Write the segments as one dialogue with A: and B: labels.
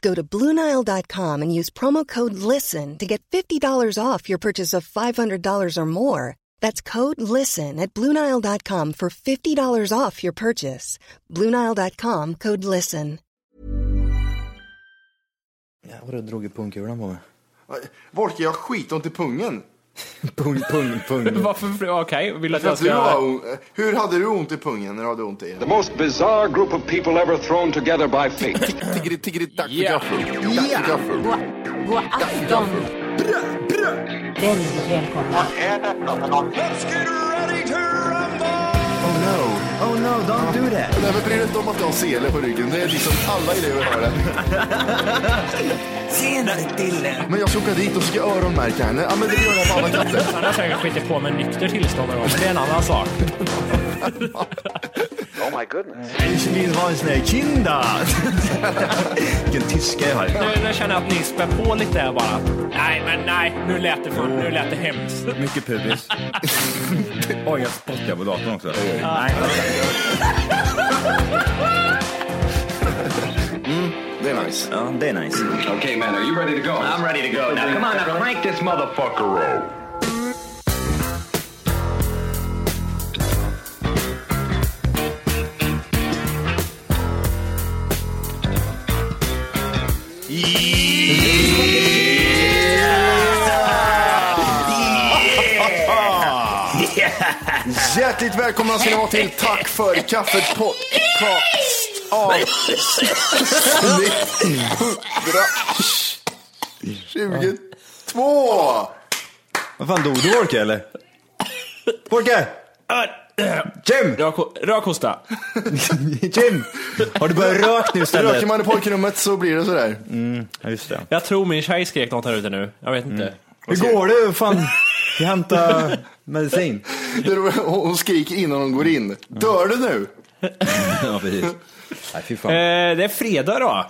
A: Go to Bluenile.com and use promo code LISTEN to get $50 off your purchase of $500 or more. That's code LISTEN at Bluenile.com for $50 off your purchase. Bluenile.com code LISTEN.
B: Jävlar, du drog ju pungkulan på mig.
C: Volke, jag har skitont i pungen.
B: Pung, pung, pung.
D: Varför? Okej, vill att
C: För
D: Mm. jag
C: att du
D: ska...
C: har, on- hur hade du ont i pungen när du hade ont i
E: The most bizarre group of people ever thrown together by fate.
C: Tiggeri, tiggeri, tack för
D: Ja.
C: gaffel. Tack för gaffel.
F: God afton! Väldigt välkomna.
C: Oh no.
B: Oh no, don't do that!
C: Nej men bry dig inte om att du har sele på ryggen. Det är liksom alla elever har det.
B: Senare Dille!
C: Men jag ska åka dit och ska öronmärka henne. Ja men det gör jag på alla katter.
D: Han har säkert skitit på med nykter tillstånd då, men det är en annan sak.
E: Oh my goodness.
B: Ich vill ha en sån här kinda! Vilken tyska jag har.
D: Nu, nu känner jag att ni spär på lite här bara. Nej, men nej. Nu lät det, för, nu lät det hemskt.
G: Mycket pubis. Oj, jag spottar på datorn också. Nej.
C: Det är nice.
G: Ja, det är nice.
E: Okay, man, are you ready to go? I'm ready to go. Now, come on, now crank this motherfucker up.
C: Hjärtligt välkomna ska ni vara till Tack för kaffet podcast avsnitt 122.
G: Vad fan, dog du Orke eller? Orke! Jim!
D: Rök- Rökhosta.
G: Jim! Har du börjat röka nu
C: Röker
G: istället?
C: man i pojkrummet så blir det sådär.
G: Ja, just det.
D: Jag tror min tjej skrek något här ute nu. Jag vet inte.
G: Hur går det? Fan, jag hämtar medicin.
C: Det är roligt, hon hon skriker innan hon går in. Dör du nu?
G: Ja, precis. Nej, fy fan.
D: Eh, det är fredag då.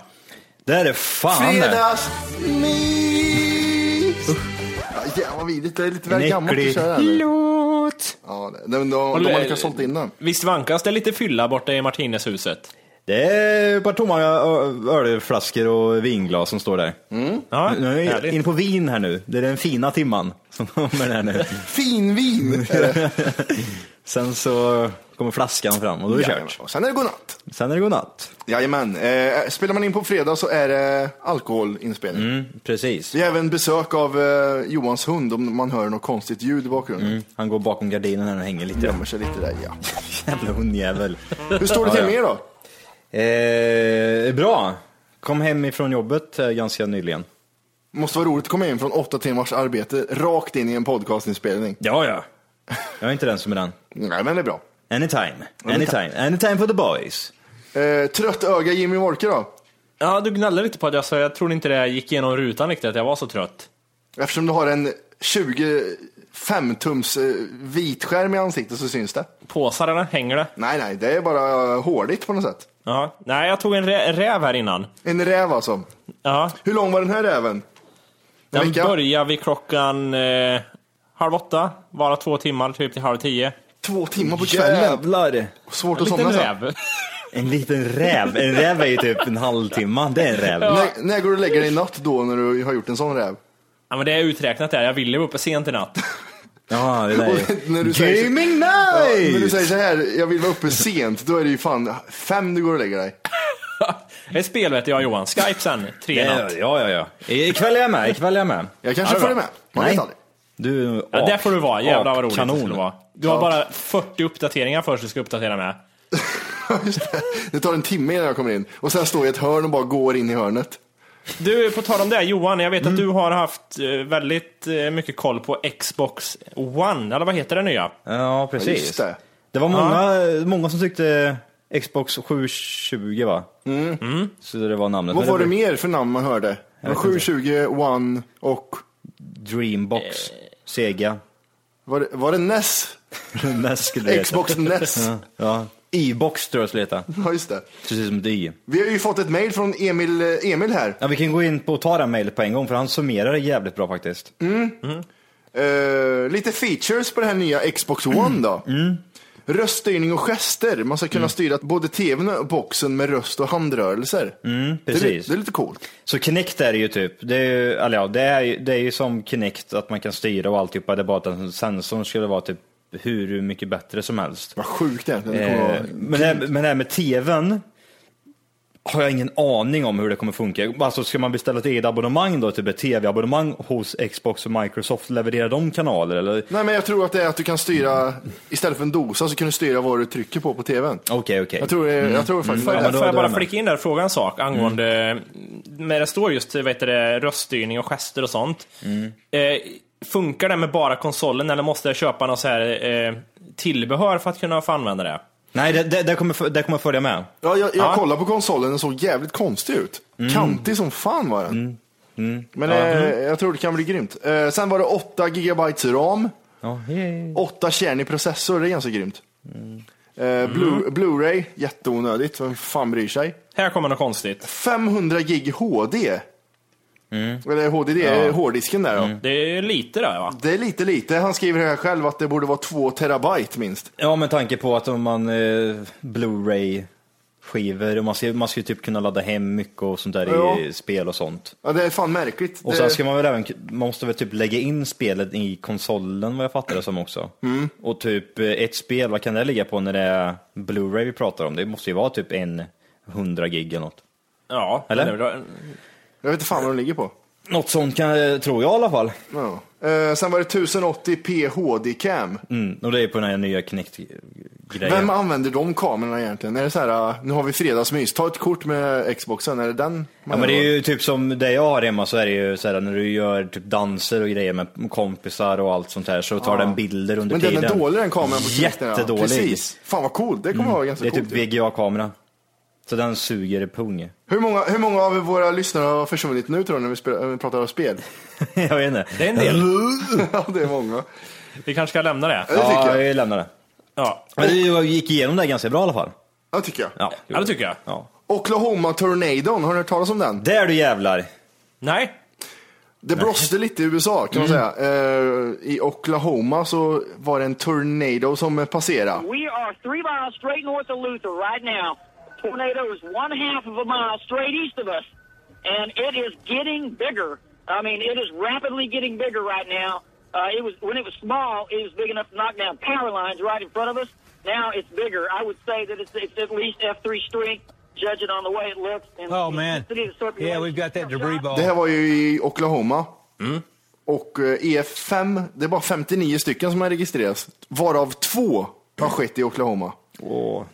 G: Det här är fan det.
C: Fredagsmys! Ja, jävlar vad vidrigt, det är lite väl
G: En
C: gammalt att
G: äcklig
C: köra den.
D: Låt.
C: Ja, det- de, de, de, de har lyckats sålt in den.
D: Visst vankas det lite fylla borta i Martinezhuset?
G: Det är ett par tomma ö- ölflaskor och vinglas som står där.
D: Mm. Ja,
G: Nu är jag
D: härligt.
G: inne på vin här nu. Det är den fina timman som kommer här nu. Mm,
C: Finvin! är det.
G: Sen så kommer flaskan fram och då är det kört.
C: Jajamän. Och Sen är det godnatt.
G: Sen är det godnatt.
C: Jajamän. Eh, spelar man in på fredag så är det alkoholinspelning.
G: Mm. Precis.
C: Vi har även besök av eh, Johans hund om man hör något konstigt ljud i bakgrunden.
G: Han går bakom gardinen här och hänger lite.
C: Gömmer sig lite där, ja.
G: Jävla hundjävel.
C: Hur står det till
G: Ja,
C: med
G: ja.
C: er då?
G: Eh, bra. Kom hem ifrån jobbet eh, ganska nyligen.
C: Måste vara roligt att komma in från åtta timmars arbete rakt in i en podcastinspelning.
G: Ja, ja. Jag är inte den som är den.
C: Nej, men det är bra.
G: Anytime. Anytime. Anytime for the boys.
C: Eh, trött öga Jimmy Wolke då?
D: Ja, du gnällde lite på att jag sa, jag tror inte det gick igenom rutan riktigt, att jag var så trött.
C: Eftersom du har en 25-tums eh, vitskärm i ansiktet så syns det.
D: Påsarna, hänger det?
C: Nej, nej, det är bara eh, hårdigt på något sätt.
D: Ja. Nej, jag tog en rä- räv här innan.
C: En räv alltså.
D: Ja.
C: Hur lång var den här räven? En
D: Den
C: vecka?
D: börjar vid klockan eh, halv åtta, bara två timmar, typ till halv tio.
C: Två timmar på kvällen.
G: Jävlar.
C: Svårt
D: En
C: att somna
D: liten
C: sen.
D: räv.
G: En liten räv. En räv är ju typ en halvtimme. Det är en räv.
C: När, när går du och lägger dig i natt då när du har gjort en sån räv?
D: Ja, men det är uträknat där, jag ville vara uppe sent i natt.
G: Ja, det där
C: Och när
G: är...
C: du säger-
G: Gaming
C: Ja, när du
G: night!
C: säger så här, jag vill vara uppe sent, då är det ju fan fem du går och lägger dig.
D: Det är spel vet jag och Johan, Skype sen, tre i
G: Ja,
D: natt.
G: ja, ja. ja. Ikväll är jag med. Ikväll är jag med.
C: Jag kanske
G: Ja, det är
C: följer
G: bra.
C: med. Man vet aldrig.
G: Du är
D: Ja, där får du vara. Jävlar vad roligt det
G: kanon.
D: skulle vara. Du har bara 40 uppdateringar först du ska uppdatera med.
C: Just det. det tar en timme innan jag kommer in. Och sen står jag i ett hörn och bara går in i hörnet.
D: Du, på tal om det Johan, jag vet att du har haft eh, väldigt eh, mycket koll på Xbox One, eller vad heter det nya?
G: Ja,
C: Ja,
G: precis.
C: Just det.
G: Det var många, många som tyckte Xbox 720 va?
D: Mm.
G: Så det var namnet.
C: Mm. Vad
G: Men
C: var det
G: blev
C: mer för namn man hörde? Det var 720, One och...
D: Eh.
G: Dreambox, Sega,
C: Var det, var det NES?
G: NES skulle det
C: Xbox E NES.
G: heta. Ja, E-box tror jag skulle heta.
C: Ja, just det.
G: Precis som D.
C: Vi har ju fått ett mejl från Emil, eh, Emil här.
G: Ja, vi kan gå in på och ta det här mejlet på en gång för han summerar det jävligt bra faktiskt.
C: Eh, lite features på det här nya Xbox One då. Röststyrning och gester. Man ska kunna styra både tvn och boxen med röst och handrörelser. Det, är, li-
G: Precis.
C: det är lite coolt.
G: Så Kinect är det ju typ, det är ju, eller ja, det är, ju- det är ju som Kinect att man kan styra och alltihopa, det är bara att den sensorn skulle vara typ hur mycket bättre som helst.
C: Vad sjukt det är. Det kommer
G: Eh,
C: vara-
G: men, det här, men det här med tvn har jag ingen aning om hur det kommer funka. Alltså ska man beställa ett eget abonnemang då, typ ett tv-abonnemang hos Xbox och Microsoft, levererar de kanaler eller?
C: Nej, men jag tror att det är att du kan styra, istället för en dosa så kan du styra vad du trycker på på tvn.
G: Okej, okej.
C: Jag tror, det- jag tror faktiskt
D: Får
C: det.
D: jag,
G: Ja, men då-
D: får jag
G: då är
D: bara
G: jag med. Mm.
D: flika in där och fråga en sak angående, när det står just vad heter det, röststyrning och gester och sånt.
G: Mm.
D: Eh, funkar det med bara konsolen eller måste jag köpa något så här, eh, tillbehör för att kunna få använda det?
G: Nej, det, det, det, kommer, f- det kommer följa med.
C: Ja, jag jag
D: Ja.
C: kollade på konsolen, den såg jävligt konstig ut.
G: Mm.
C: Kantig som fan var den. Men eh, jag tror det kan bli grymt. Eh, sen var det 8 gigabytes ram,
G: Ja, yay.
C: 8 kärn i processor, det är ganska grymt.
G: Mm.
C: Eh, Blu- Blu-ray, jätteonödigt, vem fan bryr sig?
D: Här kommer något konstigt.
C: 500 gig HD.
G: Mm.
C: Eller HDD, ja. hårddisken där då.
D: Det är lite där va?
C: Det är lite lite, han skriver här själv att det borde vara 2 terabyte minst.
G: ja med tanke på att om man eh, Blu-ray skivor, och man ska, man ska ju typ kunna ladda hem mycket och sånt där
C: Ja.
G: i spel och sånt.
C: Ja, det är fan märkligt.
G: Och
C: det...
G: sen ska man väl även, man måste väl typ lägga in spelet i konsolen vad jag fattar det som också. Och typ eh, ett spel, vad kan det ligga på när det är Blu-ray vi pratar om? Det måste ju vara typ en 100 gig eller något.
D: Ja,
G: Eller?
D: det är bra.
C: Jag vet inte fan vad de ligger på.
G: Något sånt kan, tror jag i alla fall.
C: Ja. Eh, sen var det 1080p HD-cam.
G: Mm. Och det är på den här nya
C: Vem
G: Kinect-grejen.
C: använder de kamerorna egentligen? Är det så här, uh, nu har vi fredagsmys, ta ett kort med Xboxen, är det den? man
G: Ja men det
C: gör
G: är
C: då?
G: ju typ som det jag har hemma så är det ju såhär när du gör typ danser och grejer med kompisar och allt sånt här så tar den bilder under
C: Men
G: tiden.
C: den är dålig den kameran på Kinecten, ja.
G: Jättedålig.
C: Precis. Fan vad coolt, det kommer vara ganska
G: Det är
C: coolt.
G: typ VGA-kamera. Så den suger pung.
C: hur, många, hur många av våra lyssnare har försvunnit nu tror du när vi, spelar, när vi pratar om spel?
G: jag vet inte.
D: Det är en del.
C: ja, det är många.
D: Vi kanske ska lämna det.
C: Det tycker
G: Ja,
C: jag.
G: vi lämnar det.
D: Ja,
G: Men du gick igenom det ganska bra i alla fall.
C: Ja, tycker jag.
G: Ja,
D: ja det tycker jag.
G: Ja.
C: Oklahoma Tornadon, har ni hört talas om den?
G: Där du jävlar!
D: Nej,
C: Det blåste lite i USA kan
G: Mm.
C: man säga. Eh, I Oklahoma så var det en tornado som passerade.
H: We are three miles straight north of Luther right now. Tornado is one half of a mile straight east of us, and it is getting bigger. I mean, it is rapidly getting bigger right now. Uh, it was when it was small, it was big enough to knock down power lines right in front of us. Now it's bigger. I would say that it's, it's at least F3 strength, judging on the way it looks. And
I: Oh,
H: the
I: man.
H: intensity of the circulation.
I: Yeah, we've got that debris ball.
C: Det här var ju i Oklahoma.
D: Mm.
C: Och eh, EF5, det är bara 59 stycken som har registrerats, varav två
D: Mm.
C: har skett i Oklahoma.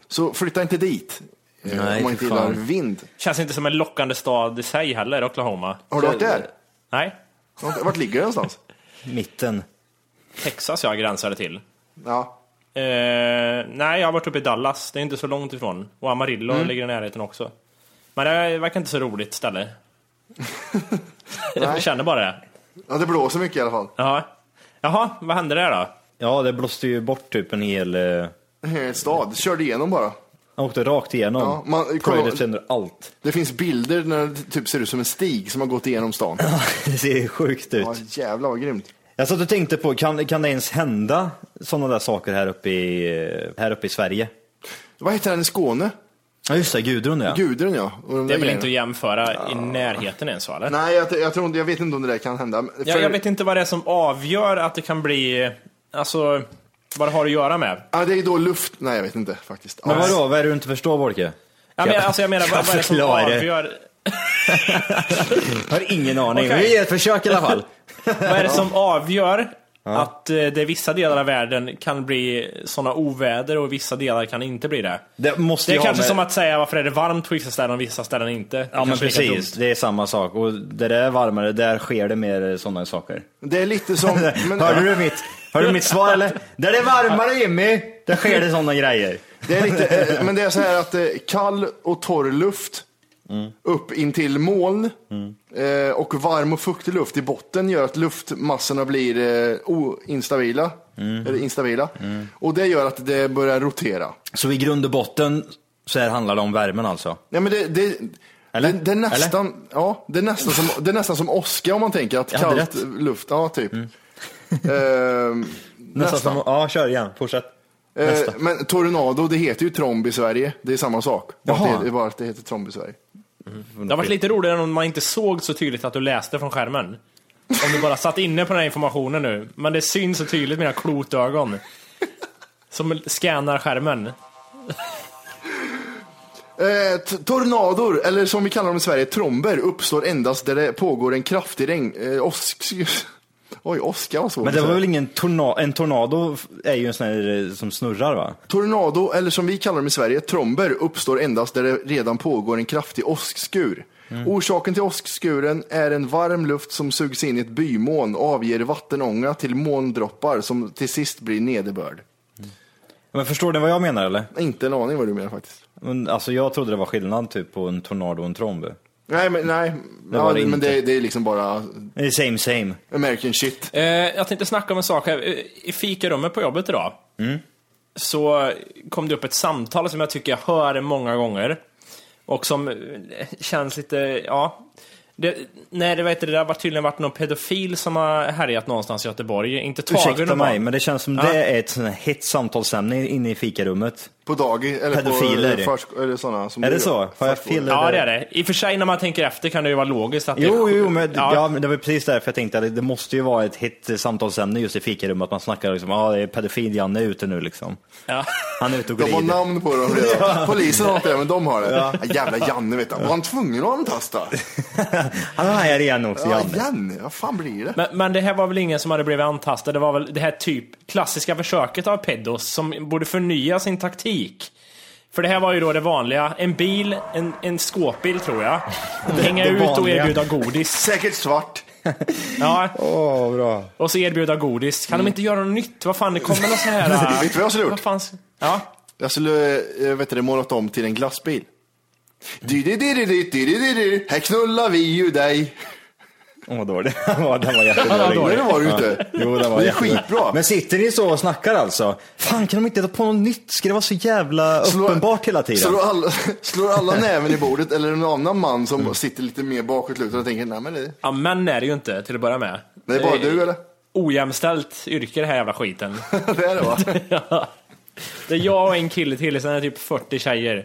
C: Så flytta inte dit. eh,
G: Nej,
C: om man
G: för
C: inte gillar
G: fan.
C: vind.
D: känns inte som en lockande stad i sig heller, Oklahoma.
C: Har du varit där?
D: Nej,
C: Vart ligger det någonstans?
G: Mitten.
D: Texas jag gränsade till.
C: Ja.
D: Eh, nej, jag har varit uppe i Dallas. Det är inte så långt ifrån. Och Amarillo ligger i närheten också. Men det verkar inte så roligt ställe. jag känner bara det.
C: ja, det blåser mycket i alla fall.
D: Jaha, Jaha vad hände där då?
G: Ja, det blåste ju bort typ en hel... eh, Jag
C: En hel stad, körde igenom bara.
G: åkte rakt igenom.
C: Ja, man- kolla-
G: Plöjde sönder allt.
C: Det finns bilder när det typ ser ut som en stig som har gått igenom stan.
G: Det ser sjukt ut.
C: Ja, jävlar vad grymt.
G: Jag satt och tänkte på, kan, kan det ens hända sådana där saker här uppe i, eh, här uppe i Sverige?
C: Vad heter den i Skåne?
G: Ja just det, Gudrun ja.
C: Gudrun ja. Och de där
D: Det är väl
C: grejerna.
D: inte att jämföra i närheten ens va? eller?
C: Nej, jag, jag, tror, inte- jag vet inte om det där kan hända.
D: Jag, jag vet inte vad det är som avgör att det kan bli... Alltså, vad det har att göra med.
C: Ja, det är då luft. Nej, jag vet inte faktiskt.
G: Men
C: Alls.
G: vadå, vad är det du inte förstår Wolke?
D: Ja, men, alltså, jag menar,
G: kan
D: vad, vad är det som
G: förklara det.
D: avgör...
G: Jag har ingen aning,
D: Okej.
G: vi ger ett försök i alla fall.
D: Vad är det som avgör Att eh, det i vissa delar av världen kan bli sådana oväder och i vissa delar kan inte bli det.
G: Det måste
D: Det
G: ju
D: är
G: ha
D: kanske
G: med-
D: som att säga varför är det varmt på vissa ställen och vissa ställen inte. Det
G: Ja men
D: kanske är lika
G: precis,
D: dumt.
G: det är samma sak. Och där det är varmare, där sker det mer sådana saker.
C: Det är lite som... Men,
G: hörde, du mitt, hörde du mitt svar eller? Där det är varmare Jimmy, där sker det sådana grejer.
C: Det är lite, eh, men det är så här att eh, kall och torr luft
G: Mm.
C: upp intill moln eh, och varm och fuktig luft i botten gör att luftmassorna blir eh, oinstabila.
G: Mm.
C: Eller instabila. Och det gör att det börjar rotera.
G: Så i grund och botten så här handlar det om värmen alltså?
C: Nej, men det, det,
G: Eller?
C: Det, det, är nästan, ja, det, är nästan som, det är nästan som åska om man tänker att
G: Jag hade
C: kallt
G: rätt. Mm.
C: luft, ja typ. Ehm,
G: Nästan.
C: nästan.
G: Som, ja, kör igen, fortsätt.
C: Eh,
G: Nästa.
C: men tornado, det heter ju tromb i Sverige. Det är samma sak. Bara
G: Jaha.
C: att Det, det är bara att det heter tromb i Sverige.
D: Det har varit lite roligare om man inte såg så tydligt att du läste från skärmen. Om du bara satt inne på den här informationen nu. Men det syns så tydligt med mina klotögon. Som scannar skärmen.
C: Eh, t- tornador, eller som vi kallar dem i Sverige, tromber, uppstår endast där det pågår en kraftig regn... Eh, osk... Oj, åska var svårt
G: Men
C: att
G: det var
C: säga.
G: väl ingen tornado, en tornado f- är ju en sån här eh, som snurrar va?
C: Tornado, eller som vi kallar dem i Sverige, tromber, uppstår endast där det redan pågår en kraftig åskskur.
G: Mm.
C: Orsaken till åskskuren är en varm luft som sugs in i ett bymoln och avger vattenånga till molndroppar som till sist blir nederbörd.
G: Men förstår ni vad jag menar eller?
C: Inte en aning vad du menar faktiskt.
G: Men, alltså jag trodde det var skillnad typ på en tornado och en tromb.
C: Nej, men, nej.
G: Det
C: ja,
G: var det
C: men
G: inte.
C: det, det är liksom bara
G: Det är Eh, Same same.
C: American shit.
D: Eh, jag tänkte snacka om en sak här. Eh, I fikarummet på jobbet idag.
G: Mm.
D: Så kom det upp ett samtal som jag tycker jag hör många gånger. Och som eh, känns lite, ja. Det, nej, det, vet, det har tydligen varit någon pedofil som har härjat någonstans i Göteborg. Inte tagen
G: Ursäkta
D: någon.
G: mig, men det känns som det är ett sån här hett samtalsämne inne i fikarummet.
C: På dagis, eller
G: Pedofiler.
C: på försk- eller sådana som
G: Är
C: du
G: det så?
C: gör.
G: Har jag fel?
D: Ja, det är det. I och för sig, när man tänker efter kan det ju vara logiskt att
G: Jo,
D: det
G: jo, men
D: Ja.
G: ja. men det var precis därför jag tänkte att det måste ju vara ett hett eh, samtalsämne just i fikarummet, att man snackar liksom, ja ah, det är pedofil Janne ute nu liksom.
D: Ja.
G: Han är ute och
C: De har
G: glider.
C: namn på dem redan. Polisen har inte det, men de har det. Jävla Janne vet du. Var han tvungen att antasta?
G: Han är här igen också,
C: Ja,
G: Janne.
C: Janne, vad fan blir det?
D: Men, men det här var väl ingen som hade blivit antastad? Det var väl det här typ klassiska försöket av pedos som borde förnya sin taktik. För det här var ju då det vanliga. En bil, en, en skåpbil tror jag. Hänga
G: det
D: ut och
G: vanliga.
D: erbjuda godis.
C: Säkert svart.
D: Ja,
G: Åh, bra.
D: och så erbjuda godis. Kan de inte göra något nytt? Vad fan, det kommer något så här... äh,
C: Vet du vad jag skulle gjort?
D: Vad fanns... Ja.
C: Jag skulle, eh, vet du, det, målat om till en glassbil. Di-di-di-di-di, di-di-di-di. Här knullar vi ju dig.
G: Åh, vad dålig. Den var, den var jättedålig.
C: dålig var du inte.
G: Jo, den var
C: Det är
G: jättedålig.
C: skitbra.
G: Men sitter ni så och snackar alltså? Fan, kan de inte ta på något nytt? Ska det vara så jävla uppenbart hela tiden?
C: Slår alla, slår alla näven i bordet eller en annan man som sitter lite mer bakåtlutad och tänker, nej men det,
D: ja, män är det ju inte till att börja med.
C: det är bara
D: Eh,
C: du eller?
D: Ojämställt yrke det här jävla skiten.
C: Det är det va?
D: Ja. Det är jag och en kille till, sen är det typ 40 tjejer.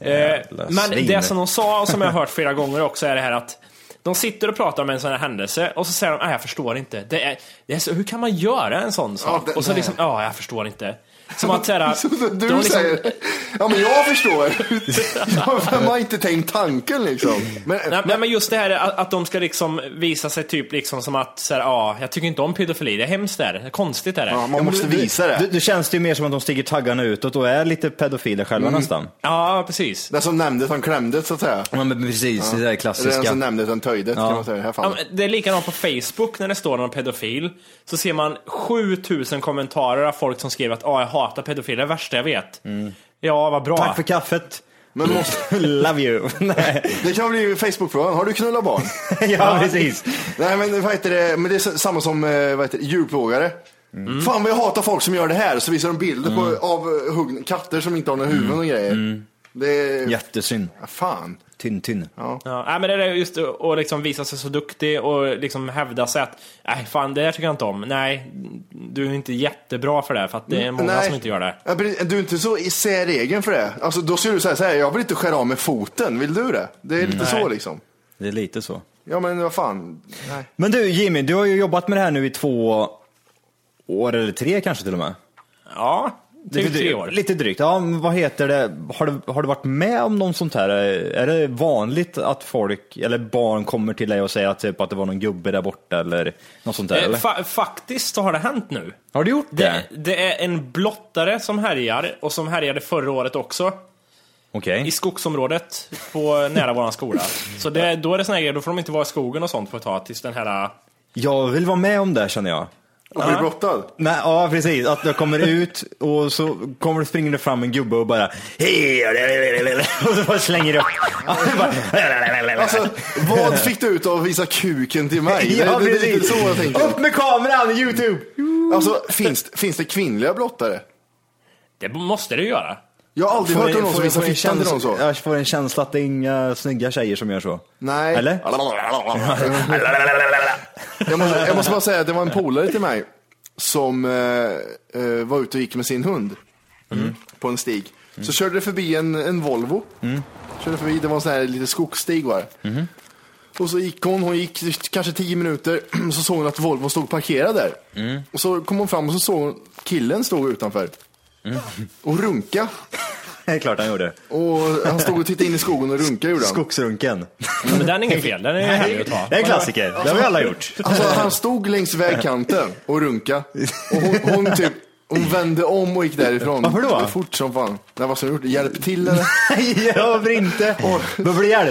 D: Eh,
G: Jävla
D: men
G: svin.
D: det som de sa, och som jag har hört flera gånger också, är det här att de sitter och pratar om en sån här händelse och så säger de "Nej, jag förstår inte. Det är, det är så, hur kan man göra en sån sak?
C: det-
D: och så
C: nej.
D: liksom, ja, jag förstår inte. Som att säga,
C: Så det du
D: de liksom-
C: säger, ja men jag förstår. jag, vem har inte tänkt tanken liksom? Men,
D: Nej, nej, men just det här att, att de ska liksom visa sig typ liksom som att, så här, ja, jag tycker inte om pedofili, det är hemskt det här, det är konstigt det här.
C: ja, man måste visa
G: Du,
C: det.
G: du känns det ju mer som att de sticker taggarna utåt och är lite pedofiler själva
C: Mm.
G: nästan.
D: Ja, precis.
C: Den som nämndes han klämdes så att säga.
G: Ja, men precis, det där
C: Eller den
G: klassiska.
C: som nämndes han töjdes kan man säga. i det Här
D: Ja,
C: fallet.
D: men det är likadant på Facebook när det står någon pedofil. Så ser man 7000 kommentarer av folk som skriver att ah, jag hatar pedofiler, det är det värsta jag vet. Ja, vad bra.
G: Tack för kaffet.
C: men måste,
G: Love you. Nej.
C: det kan bli Facebookfrågan, har du knullat barn?
G: ja, precis.
C: nej men vad heter det, men det är s- samma som eh, vad heter det, djurplågare. Fan vad jag hatar folk som gör det här, så visar de bilder på, av eh, huggna katter som inte har några huvuden och grejer. Det är,
G: Jättesynd.
C: Mm. ja, fan.
G: Tynn, tynn.
D: Ja, nej, men det är just att liksom visa sig så duktig och liksom hävda sig att nej, fan det där tycker jag inte om. Nej, du är inte jättebra för det här, för att det
G: Mm,
D: är många
C: Nej.
D: som inte gör det.
C: Ja, precis. Du är inte så säregen för det. Alltså, då skulle du säga så här, jag vill inte skära av med foten, vill du det? Det är lite så liksom.
G: Det är lite så.
C: Ja men vad fan. Nej.
G: Men du Jimmy, du har ju jobbat med det här nu i två år eller tre kanske till och med.
D: Ja, Typ
G: Lite
D: tre
G: drygt-
D: år.
G: Lite drygt. Ja, men vad heter det? Har, du, har du varit med om någon sånt här? Är det vanligt att folk, eller barn kommer till dig och säger att, typ, att det var någon gubbe där borta eller något sånt där?
D: Eh,
G: eller?
D: fa- faktiskt så har det hänt nu.
G: Har du gjort
D: Det,
G: det?
D: det är en blottare som härjar, och som härjade förra året också,
G: Okej.
D: i skogsområdet på nära våran skola. Så det, då är det såna här grejer, då får de inte vara i skogen och sånt på ett tag tills den här...
G: Jag vill vara med om det känner jag.
C: Och blir blottad.
G: Nej, ja, precis. Att jag kommer ut och så kommer det springande fram en gubbe och bara hej och så bara slänger upp. Ja, det bara-
C: Alltså, vad fick du ut av att visa kuken till mig?
G: Ja,
C: det, det, det, det är
G: precis.
C: så jag tänker.
G: Upp med kameran, Youtube!
C: Alltså, finns, finns det kvinnliga blottare?
D: Det måste det ju göra.
C: Jag har aldrig hört om någon som visar fittan till någon så.
G: Jag får en känsla att det är inga snygga tjejer som gör så.
C: Nej.
G: Eller?
C: Jag måste, jag måste bara säga att det var en polare till mig som eh, eh, var ute och gick med sin hund mm, på en stig. Så körde det förbi en, en Volvo. Körde förbi, det var en sån här liten skogsstig var det. Och så gick hon, hon gick kanske tio minuter, så såg hon att Volvo stod parkerad där. Och så kom hon fram och så såg hon killen stod utanför. Och runka.
G: Det är klart han gjorde.
C: Och han stod och tittade in i skogen och runka gjorde han.
G: Skogsrunken.
D: Men den är inget fel, den är härlig att ta.
G: Det är en klassiker. Det har vi alla gjort.
C: Alltså han stod längs vägkanten och runka Och hon, hon typ, hon vände om och gick därifrån.
G: Varför då?
C: Fort som fan. Nej, vad som gjort? Hjälp till eller?
G: Nej, varför inte? Då blir det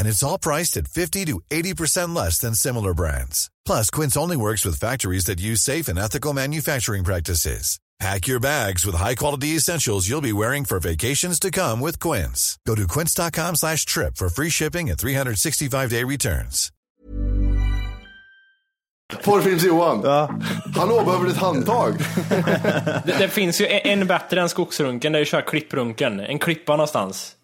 J: And it's all priced at 50 to 80% less than similar brands. Plus, Quince only works with factories that use safe and ethical manufacturing practices. Pack your bags with high-quality essentials you'll be wearing for vacations to come with Quince. Go to quince.com slash trip for free shipping and 365-day returns.
C: Porrfilms-Johan.
G: Ja.
C: Hallå, behöver du ett handtag?
D: Det, det finns ju en en bättre än skogsrunken, det är ju köra klipprunken. En klippa någonstans.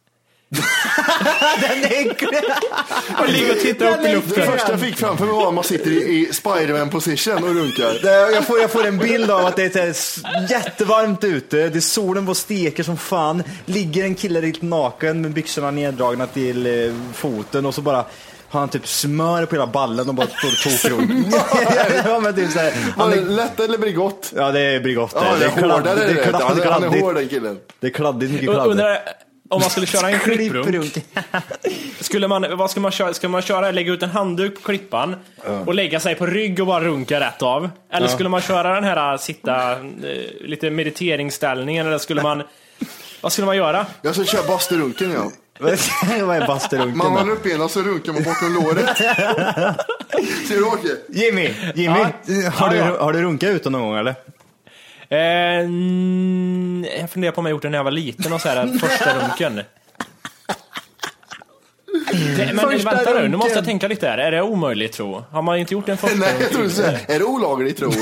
D: Och ligga och titta upp i
C: Det
D: luften.
C: första jag fick framför mig var att man sitter i, i Spiderman position och runkar.
G: Det- Jag får, jag får en bild av att det är så här s- jättevarmt ute, det är solen på steker som fan, ligger en kille helt naken med byxorna neddragna till eh, foten och så bara har han typ smör på hela ballen och bara står och tokrunt. ja, men typ så här,
C: Var
G: han
C: det
G: är,
C: lätt eller Bregott?
G: ja det är brigott
C: Ja, det är hårdare.
G: kladdigt,
C: Det är
G: kladdigt,
C: Han är- han är
G: kladdigt.
C: hård den killen.
G: Det är kladdigt, mycket
D: Jag
G: kladdigt.
D: Undrar om man skulle köra en klipprunk.
G: Klipprunk.
D: Skulle man, vad ska man köra? Ska man köra, lägga ut en handduk på klippan och lägga sig på rygg och bara runka rätt av? Eller skulle man köra den här sitta, eh, lite mediteringsställningen eller skulle man, vad skulle man göra?
C: Jag ska köra basturunken ja.
G: Vad är basturunken
C: Man håller
G: då?
C: upp benen så runkar man bortom låret. Ser du Åke?
G: Jimmy, Jimmy,
D: Ja.
G: har, du,
D: Ja, ja.
G: har du runkat ute någon gång eller?
D: Eh, mm, jag funderar på om jag gjort det när jag var liten och så här, första runken. Det, men
G: Första
D: vänta nu, nu måste
G: runken.
D: jag tänka lite här. Är det omöjligt tro? Har man inte gjort en första
C: Nej, jag tror
D: runken?
C: du säger, är det olagligt tro?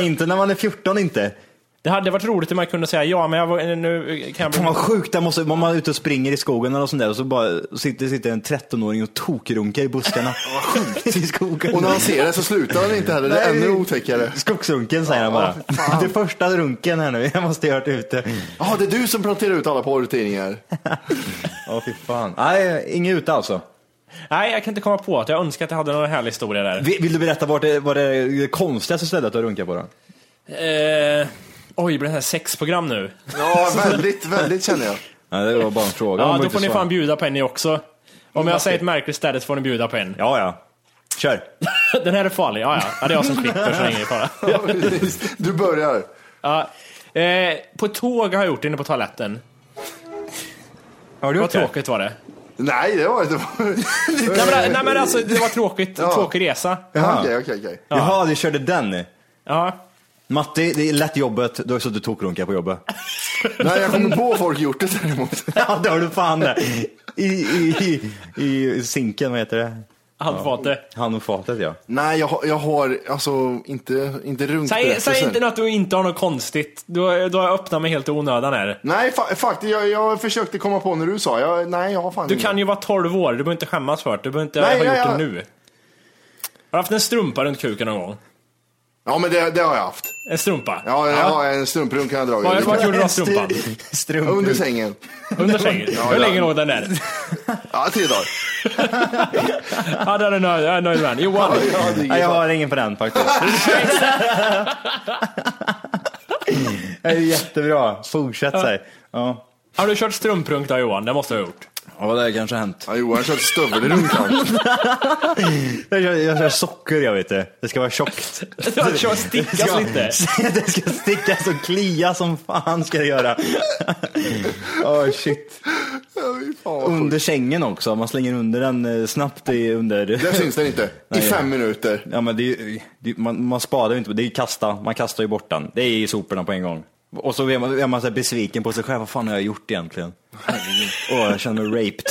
G: inte när man är 14 inte.
D: Det hade varit roligt om jag kunde säga ja, men jag var, nu kan jag
G: Fan
D: bli...
G: vad sjukt, där måste, om man är ute och springer i skogen eller något sånt där och så bara sitter, sitter en 13-åring och tokrunkar i buskarna. I skogen.
C: Och när han ser det så slutar han inte heller, det är
G: Nej.
C: ännu otäckare.
G: Skogsrunken säger han bara.
C: Ja, fan. Mm.
G: det är första runken här nu, jag måste göra det ute.
C: Jaha, det är du som planterar ut alla porrtidningar.
G: Ja fy fan. Nej, inget ute alltså.
D: Nej, jag kan inte komma på att jag önskar att jag hade någon härlig historia där.
G: Vill, vill du berätta vart det, vad det är det konstigaste stället du har runkat på då?
D: Eh, oj, blir det här sexprogram nu?
C: Ja, väldigt, väldigt känner jag.
G: Ja, det var bara en fråga.
D: Ja,
G: Man
D: då
G: inte
D: får ni
G: svara.
D: fan bjuda på en ni också. Om jag säger ett märkligt ställe så får ni bjuda på en.
G: Ja, ja. Kör.
D: Den här är farlig, ja ja. ja det är jag som klipper så länge det är fara.
C: Ja, precis. Du börjar.
D: Ja. Eh, på tåg har jag gjort det inne på toaletten.
G: Har du
D: Vad tråkigt var det.
C: Nej, det var inte...
D: Nej men, nej, men alltså, det var tråkigt.
C: Ja.
D: Tråkig resa.
C: Okej, okej, okej.
G: Jaha, du körde den.
D: Ja.
G: Matti, det är lätt jobbet. Du har ju suttit och tokrunkat på jobbet.
C: Nej, jag kommer på folk gjort det däremot.
G: Ja, det har du fan det. I, i, i, I sinken, vad heter det?
D: Handfatet.
G: Ja. Handfatet, ja.
C: Nej, jag, har- jag har alltså inte, inte
D: Säg,
C: runkberättelser.
D: säg inte något du inte har något konstigt. Du har, du har öppnat mig helt i onödan här.
C: Nej, fa- faktiskt. Jag, jag försökte komma på när du sa. Jag, nej, jag har fan
D: Du
C: ingen.
D: kan ju vara 12 år, du behöver inte skämmas för det. Du behöver inte
C: Mm. Nej,
D: ha
C: nej,
D: gjort
C: jag-
D: det nu. Har du haft en strumpa runt kuken någon gång?
C: Ja, men det, det har jag haft.
D: En strumpa?
C: Ja, jag har en strumprunk kan jag dra.
D: Vad- vad gjorde du av strumpan?
G: Strump.
C: Under sängen.
D: Under sängen?
C: Ja,
D: Hur
C: ja.
D: länge låg den där?
C: Ja, tre dagar.
D: Ja, den är nöjd, jag är nöjd med den. Johan?
C: Ja, det är
G: Nej,
C: inget
G: jag
C: fan.
G: har ingen på den faktiskt. det är jättebra. Fortsätt säg. Ja.
D: Har du kört strumprunk då Johan? Det måste du ha gjort.
G: ja, det har kanske hänt.
C: Ja, Johan kör stövelrunk. han.
G: Jag kör, jag kör socker, jag vet det. Det ska vara tjockt.
D: Du har kört stickas lite.
G: det ska stickas och klia som fan ska det göra. Åh shit.
C: Ja, fy fan vad sjukt.
G: Under sängen också, man slänger under den eh, snabbt i under...
C: Där syns den inte. I
G: Nej, ja.
C: fem minuter.
G: Ja, men det är, ju- det, är- man, man sparar ju inte, det är ju kasta, man kastar ju bort den. Det är i soporna på en gång. Och så är man, är man så här besviken på sig själv, vad fan har jag gjort egentligen? Åh, jag känner mig raped.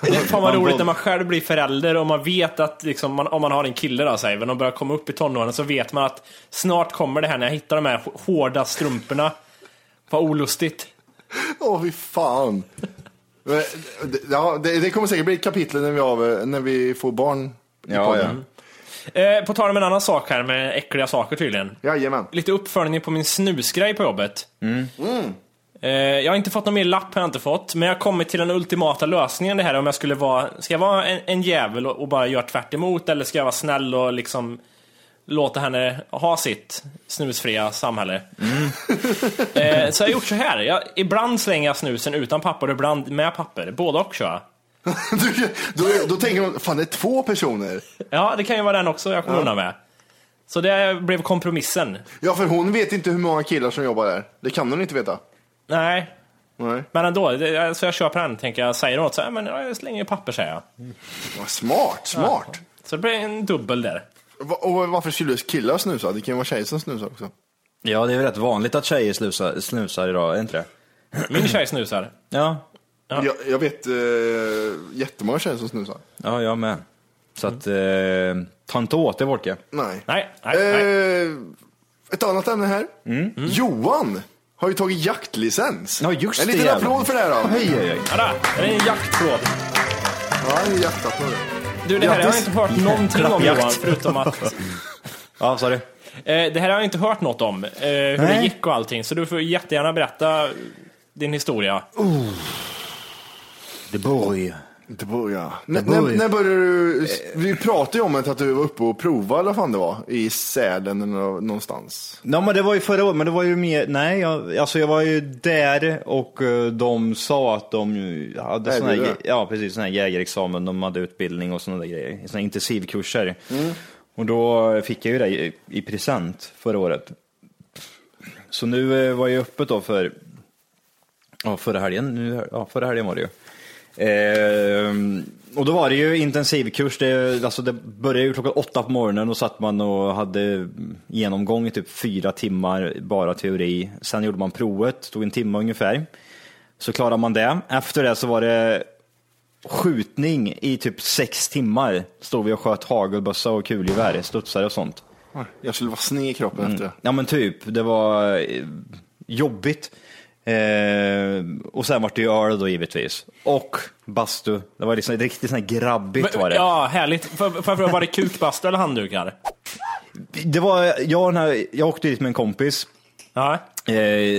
D: Det är fan vad
G: Man
D: roligt
G: våld-
D: när man själv blir förälder och man vet att liksom, man, om man har en kille då, säger vi, de börjar komma upp i tonåren så vet man att snart kommer det här när jag hittar de här h- hårda strumporna. Vad olustigt.
C: Åh, fy fan. Men, det- Eh, Ja, det, det kommer säkert bli ett kapitel när vi, har, eh, när vi får barn. i
G: Ja, ja.
C: podden.
D: Eh, på tal om en annan sak här med äckliga saker tydligen.
C: Jajamän.
D: Lite uppföljning på min snusgrej på jobbet. Eh, jag har inte fått någon mer lapp, har jag inte fått. Men jag har kommit till den ultimata lösningen det här om jag skulle vara, ska jag vara en, en jävel och, och bara göra tvärt emot eller ska jag vara snäll och liksom låta henne ha sitt snusfria samhälle? eh, så jag har gjort så här, jag, ibland slänger jag snusen utan papper och ibland med papper. Både och kör jag.
C: Du, då, då tänker man, fan det är två personer.
D: Ja, det kan ju vara den också jag kommer undan med. Så det blev kompromissen.
C: Ja, för hon vet inte hur många killar som jobbar där. Det kan hon inte veta.
D: Nej,
C: Nej.
D: men ändå. Det, så jag köper den, tänker jag. Säger något så här, men jag slänger i papper, säger jag.
C: Vad Smart, smart.
D: Så det blir en dubbel där.
C: Va- Och varför skulle killar snusa? Det kan ju vara tjejer som snusar också.
G: Ja, det är väl rätt vanligt att tjejer snusar, snusar idag, är det inte det?
D: Min tjej snusar.
G: Ja,
C: Jag, jag vet eh, jättemånga tjejer som snusar.
G: ja jag med. Så att, eh, ta inte åt det Wolke.
C: Nej.
D: Nej, nej, nej. Mm.
C: Eh, ett annat ämne här. Johan har ju tagit jaktlicens.
G: Ja, just
C: en
G: det,
C: liten
G: jävlar.
C: applåd för det här då.
G: Oj, oj, oj.
D: Ja, där. det är en jaktfråd.
C: Ja, en jaktapplåd.
D: Du, det här har jag
C: Grattis.
D: inte hört någonting om
G: Klappjakt.
D: Johan, förutom att... Eh,
G: Ja, sorry.
D: det här har jag inte hört något om, eh, hur det
G: Nej.
D: gick och allting. Så du får jättegärna berätta din historia.
G: Det börjar.
C: Det börjar. När,
G: börjar.
C: när, när började du? Vi pratade ju om det, att du var uppe och provade eller vad fan det var. I Sälen eller nå- någonstans.
G: Ja men det var ju förra året, men det var ju mer, nej jag, alltså jag var ju där och eh, de sa att de ju hade
C: Nej,
G: sån här,
C: det är
G: jä-
C: det.
G: ja precis, sån här jägarexamen, de hade utbildning och såna där grejer, såna här intensivkurser. Och då fick jag ju det i, i present förra året. Så nu eh, var jag öppet då för, ja förra helgen, nu, ja förra helgen var det ju. Ehm, och då var det ju intensivkurs, det, alltså det började ju klockan åtta på morgonen och satt man och hade genomgång i typ fyra timmar, bara teori. Sen gjorde man provet, tog en timme ungefär. Så klarade man det. Efter det så var det skjutning i typ sex timmar. Stod vi och sköt hagelbössa och kulgevär, studsare och sånt.
C: Jag skulle vara sned i kroppen efter det.
G: Ja men typ, det var eh, jobbigt. Eh, och sen vart det ju öl då givetvis. Och bastu. Det var liksom riktigt sån här grabbigt var det.
D: Ja, härligt. Får får jag fråga, var det kukbastu eller handdukar?
G: det var, jag, när, jag åkte dit med en kompis.
D: Ja.
G: Eh,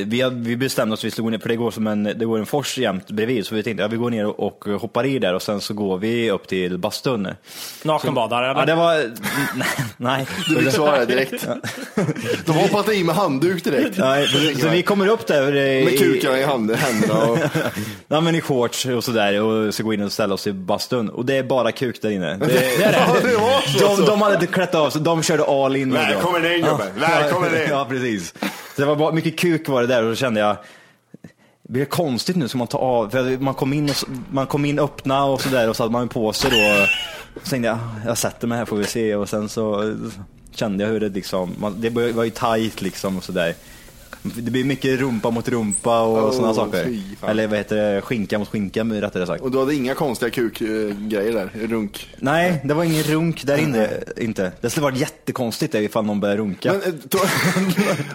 G: vi, hade- vi bestämde oss att vi skulle gå ner, för det går, som en, det går en fors jämt bredvid. Så vi tänkte att ja, vi går ner och hoppar i där och sen så går vi upp till bastun.
D: Nakenbadare, eller?
G: Ja, det var... Nej. nej.
C: Du besvarade direkt. De hoppade i med handduk direkt.
G: Nej, så- så vi kommer upp där. eh,
C: Med
G: i-
C: kukarna i hand- händerna och...
G: Ja men i shorts och sådär och så gå in och ställa oss i bastun och det är bara kuk där inne. Det,
C: Ja, det var så,
G: de,
C: alltså.
G: de hade inte klätt av sig, de körde all in. med dem.
C: Välkommen in gubben, välkommen in.
G: Ja precis. Så det var bara, mycket kuk var det där och då kände jag, det blir konstigt nu som man tar av, för man kom in, och, så- man kom in öppna och sådär och så hade man på sig då. Så tänkte jag, jag sätter mig här får vi se och sen så Kände jag hur det liksom, man, det bör- var ju tajt liksom och sådär. Det blir mycket rumpa mot rumpa och
C: Oh,
G: sådana saker.
C: fy fan.
G: Eller vad heter det, skinka mot skinka rättare sagt.
C: Och du hade inga konstiga kukgrejer där? Runk?
G: Nej, det var ingen runk där inne. Inte. Det skulle varit jättekonstigt ifall någon började runka.
C: Men, eh, to-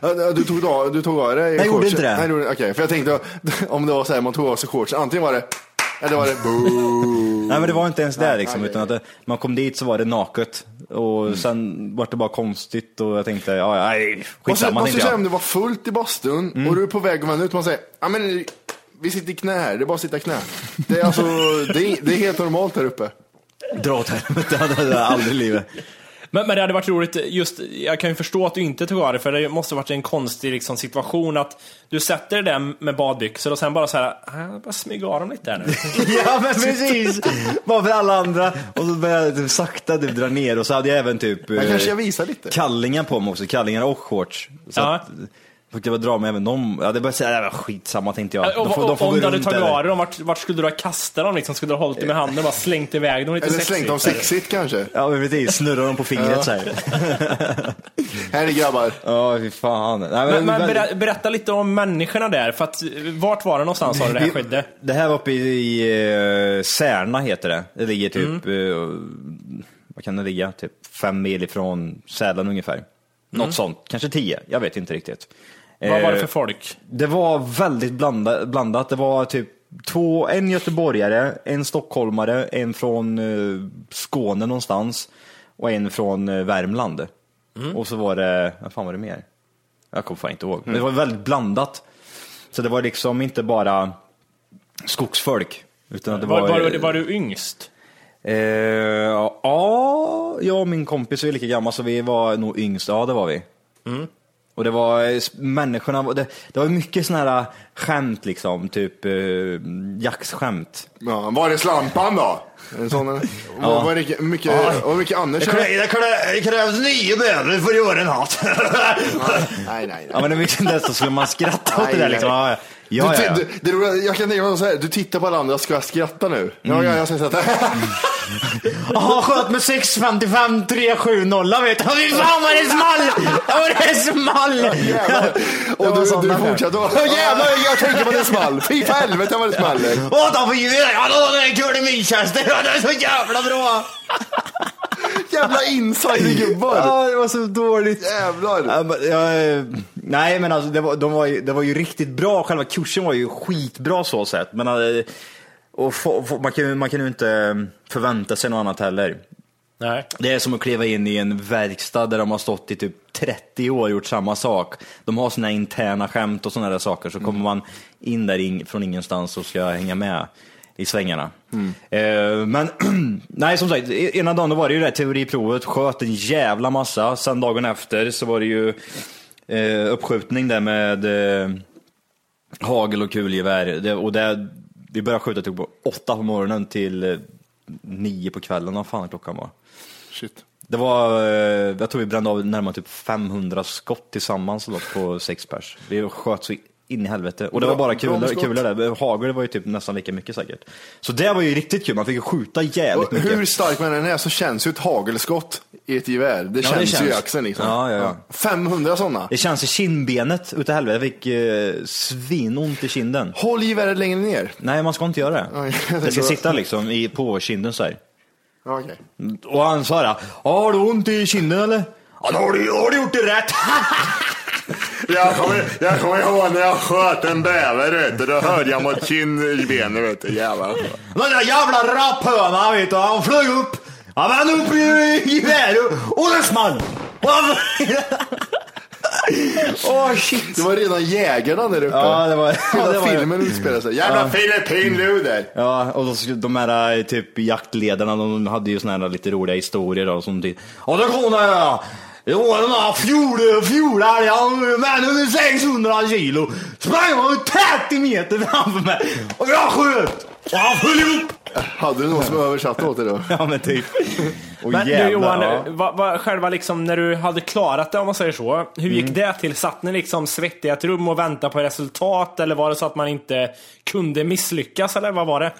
C: Ja, du, tog av, du tog av dig
G: Jag gjorde
C: shortsen.
G: inte det.
C: Nej, du gjorde- Okej, för jag tänkte om det var så här man tog av sig shortsen. Antingen var det, eller var det boo.
G: Nej men det var inte ens det
C: Nej,
G: liksom,
C: nej, Mm.
G: utan att det, man kom dit så var det naket. Och sen var det bara konstigt och jag tänkte, ja, ja, nej,
C: Och så,
G: skitsamma
C: man
G: tänkte
C: skulle säga om
G: jag. Mm.
C: det var fullt i bastun och du är på väg att vända ut. Man säger, ja men vi sitter i knä här, det är bara att sitta i knä. Det är, alltså, det är, det är helt normalt här uppe.
G: Dra åt helvete, det hade jag aldrig i livet.
D: Men, men det hade varit roligt, just, jag kan ju förstå att du inte tog av det, för det måste varit en konstig liksom, situation att du sätter dig där med badbyxor och sen bara så här, "Ah, bara smyga av dem lite här nu.
G: ja men precis! Bara för alla andra. Och så började jag typ sakta typ, dra ner och så hade jag även typ
C: Här
G: eh,
C: kanske jag visar lite.
G: kallingar på mig också, kallingar och shorts. Så
D: Ja.
G: att, fick jag bara dra mig även dem. Ja, det började säga, "Ja, skitsamma tänkte jag.
D: Äh, Och, och, om du hade tagit
G: där.
D: av dig dem, vart, vart skulle du ha kastat dem? Liksom? Skulle du ha hållit dem med handen och bara slängt iväg dem lite
C: Eller
D: sexigt?
C: slängt dem sexigt kanske.
G: Ja men precis, snurra dem på fingret
C: Ja.
G: så här.
C: Här är grabbar.
G: Ja, fy fan. Nej,
D: Men, men berä- berätta lite om människorna där, för att, eh, vart var det någonstans sa du det här
G: Vi-
D: skedde?
G: Det här var uppe i, eh, Särna heter det. Det ligger typ,
D: Mm.
G: eh, vad kan det ligga, typ fem mil ifrån Sälen ungefär. Något sånt, kanske tio, jag vet inte riktigt.
D: Mm. Vad var det
G: Eh,
D: för folk?
G: Det var väldigt blanda, blandat. Det var typ två, en göteborgare, en stockholmare, en från eh, Skåne någonstans och en från eh, Värmland.
D: Mm.
G: Och så var det, vad fan var det mer? Jag kommer fan inte ihåg. Men det var väldigt blandat. Så det var liksom inte bara skogsfolk. Utan att det
D: Var,
G: var,
D: var, var, var du yngst?
G: Eh, ja, jag och min kompis vi är lika gamla så vi var nog yngst, ja det var vi. Och det var eh, s- människorna, var- det, det var mycket sådana här eh, skämt liksom, typ eh, jaktskämt.
C: Ja, var är slampan då? Är det sån, ja. Var det mycket,
G: Ja.
C: var det mycket annars? eller?
G: krävs nio böner för att göra en hatt.
C: Nej, nej, nej.
G: ja men det var mycket sånt där så skulle man skratta åt det där
C: Nej,
G: liksom. Ja,
C: Du,
G: ja, ja,
C: ti-
G: ja.
C: Du, det roliga, jag kan tänka mig så här, du tittar på alla andra, ska jag skratta nu?
G: Mm.
C: Ja, ja, jag ska skratta.
G: Jaha, sköt med 655 370 vet du. Fy fan vad det small! Vad det small!
C: Jävlar.
G: Det
C: Och
G: var
C: du,
G: sådana
C: du
G: skämt.
C: fortsätter och bara, "Åh, jävlar, jag tänker på det small. Fy för helvete vad det small.
G: Åh, ta på djuret! Ja, då är det kul i Manchester! Ja, Det är så jävla bra!
C: Jävla insidergubbar.
G: det var så dåligt.
C: Jävlar.
G: eh, nej, men alltså, det, var, de var ju, det var ju riktigt bra. Själva kursen var ju skitbra så sett. Men eh, och få, få, man, kan, ju- man kan ju inte eh, förvänta sig något annat heller.
D: Nej.
G: Det är som att kliva in i en verkstad där de har stått i typ 30 år och gjort samma sak. De har sina interna skämt och sådana där saker, så kommer man in där in, från ingenstans och ska hänga med i svängarna. Eh, men nej, som sagt, e- ena dagen då var det ju det här teoriprovet, sköt en jävla massa. Sen dagen efter så var det ju eh, uppskjutning där med eh, hagel och kulgevär. Det, och det, vi började skjuta typ på åtta på morgonen till eh, nio på kvällen, vad fan klockan var.
C: Shit.
G: Det var, eh, jag tror vi brände av närmare typ 500 skott tillsammans då, på sex pers. Vi sköt så in i helvete. Och det
C: Bra-
G: var bara
C: bra
G: kulor,
C: skott.
G: kulor där. Hagel var ju typ nästan lika mycket säkert. Så det var ju riktigt kul, man fick ju skjuta
C: Och
G: jävligt mycket.
C: hur stark man än är så känns ju ett hagelskott i ett gevär. Det,
G: Ja, det
C: känns, ju i
G: känns.
C: axeln liksom.
G: Ja, ja, ja.
C: 500 sådana.
G: Det känns i kindbenet utav helvete. Jag fick eh, svinont i kinden.
C: Håll geväret längre ner.
G: Nej, man ska inte göra det.
C: Oj, jag
G: Det ska
C: tänkte-
G: sitta liksom i, på kinden så här.
C: Ja, okej.
G: Och han sa det, har du ont i kinden eller? Ja, då har du, har du gjort det rätt!
C: Jag kommer, jag kommer ihåg när jag sköt en bäver, vet du. då hörde jag mot kindbenet. Vet du. Jävlar.
G: Den där jävla rapphönan vet du, han flög upp. Han vände upp i i geväret och det small. Och han- Åh shit.
C: Det var redan jägarna där uppe.
G: Ja, det var-
C: Hela
G: ja, det var-
C: filmen utspelade sig. Jävla
G: Ja.
C: filippinluder!
G: Ja, och då, skulle- de här eh, typ jaktledarna, de hade ju såna här lite roliga historier då, som typ, ja då kom det här. eh, Jo, den där fjol, fjolälgen, men under 600 kilo, sprang han 30 meter framför mig och jag sköt och han föll ihop.
C: Hade du någon som översatte åt dig då?
G: Ja, men typ.
D: Men nu Johan, vad, vad, själva liksom när du hade klarat det om man säger så, hur
G: Mm.
D: gick det till? Satt ni liksom svettiga i ett rum och väntade på resultat eller var det så att man inte kunde misslyckas eller vad var det?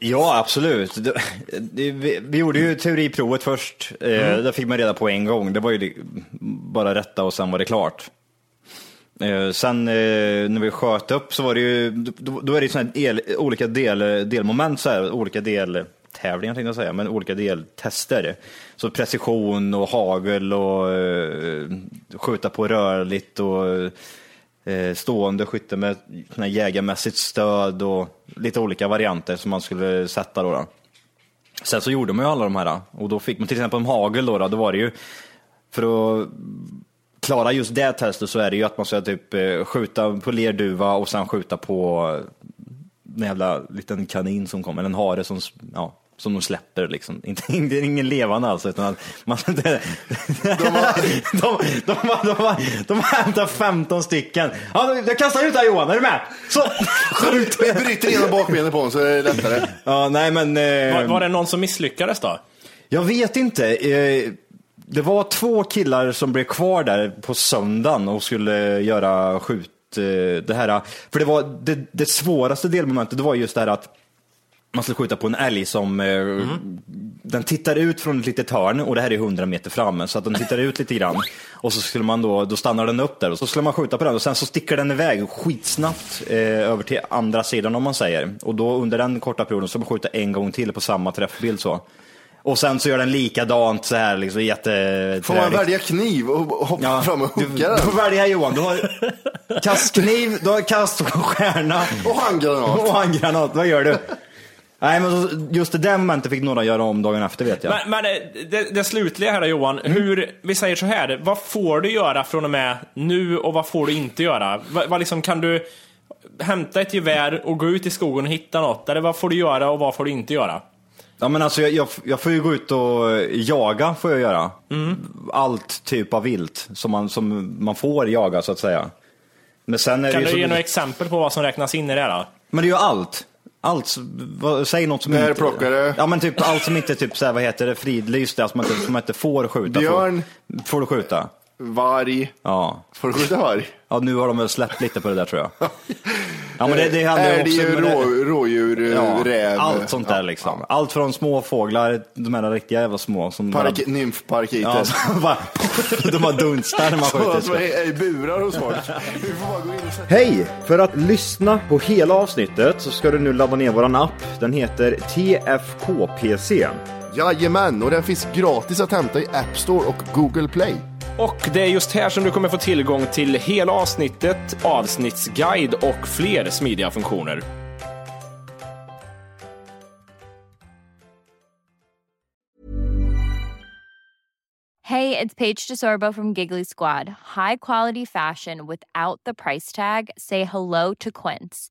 G: Ja, absolut. Det- det- Vi vi gjorde ju teoriprovet först. Eh, Där fick man reda på en gång. Det var ju li- bara rätta och sen var det klart. Eh, Sen eh, när vi sköt upp så var det ju, då, då är det ju såna här el, olika del, delmoment, så här, olika deltävlingar tänkte jag säga, men olika deltester. Så precision och hagel och eh, skjuta på rörligt och eh, stående skytte med såna här jägarmässigt stöd och lite olika varianter som man skulle sätta då. då. Sen så gjorde man ju alla de här och då fick man till exempel om hagel då, då, då var det ju för att klara just det testet så är det ju att man ska typ eh, skjuta på lerduva och sen skjuta på en jävla liten kanin som kommer, eller en hare som, s- ja, som de släpper liksom. Inte, det är ingen levande alltså, utan att man, det, de, de, de, de, de, de hämtar 15 stycken. Ja, jag kastar ut det här Johan, är du med? Så, skjut!
C: Vi bryter igenom bakbenet på honom så är det lättare.
G: Ja, nej men... eh,
D: Var, var det någon som misslyckades då?
G: jag vet inte. Eh, Det var två killar som blev kvar där på söndagen och skulle göra skjut. eh, Det här, för det var det, det svåraste delmomentet, det var just det här att man skulle skjuta på en älg som eh,
C: Mm.
G: den tittar ut från ett litet hörn och det här är 100 meter framme så att den tittar ut lite grann och så skulle man då, då stannar den upp där och så skulle man skjuta på den och sen så sticker den iväg skitsnabbt eh, över till andra sidan om man säger och då under den korta perioden så ska man skjuta en gång till på samma träffbild så. Och sen så gör den likadant så här liksom jätte...
C: Får man välja kniv och hoppa
G: Ja,
C: fram och
G: du,
C: hugga
G: du
C: den?
G: får välja Johan, du har kastkniv, du har kast och stjärna.
C: Och handgranat.
G: Och handgranat, vad gör du? Nej men så- just det där momentet fick några göra om dagen efter vet jag.
D: Men, men eh, det, det slutliga här då Johan,
G: Mm.
D: hur, vi säger så här, vad får du göra från och med nu och vad får du inte göra? Vad, vad liksom, kan du hämta ett gevär och gå ut i skogen och hitta något? Eller vad får du göra och vad får du inte göra?
G: Ja men alltså jag, jag, jag får ju gå ut och jaga får jag göra.
D: Mm.
G: Allt typ av vilt som man, som man får jaga så att säga. Men sen är
D: Kan
G: det ju
D: du ge
G: så,
D: några exempel på vad som räknas in i det här då?
G: Men det är ju allt. Allt, vad, säg något som inte...
C: Bärplockare.
G: Ja men typ allt som inte typ så här, vad heter det, fridlyst, alltså man inte, som man inte får skjuta.
C: Björn.
G: Får, får du skjuta?
C: Varg.
G: Ja.
C: Får du skjuta varg?
G: Ja nu har de väl släppt lite på det där tror jag. Ja men det, det handlar ju
C: är det
G: också...
C: ju
G: men det-
C: rå, rådjur,
G: Ja,
C: räv,
G: allt sånt där liksom. Allt från små fåglar, de här riktiga jävla små. Som
C: park,
G: bara,
C: nymfparkiter?
G: ja, som bara, de har dunstar när man
C: Så att man
G: skjuter.
C: är i burar hos folk. Vi får bara gå in och sätta
G: Hej! För att lyssna på hela avsnittet så ska du nu ladda ner våran app. Den heter TFKPC.
C: Jajamän, och den finns gratis att hämta i App Store och Google Play.
D: Och det är just här som du kommer få tillgång till hela avsnittet, avsnittsguide och fler smidiga funktioner.
K: Hey, it's Paige DeSorbo from Giggly Squad. High quality fashion without the price tag. Say hello to Quince.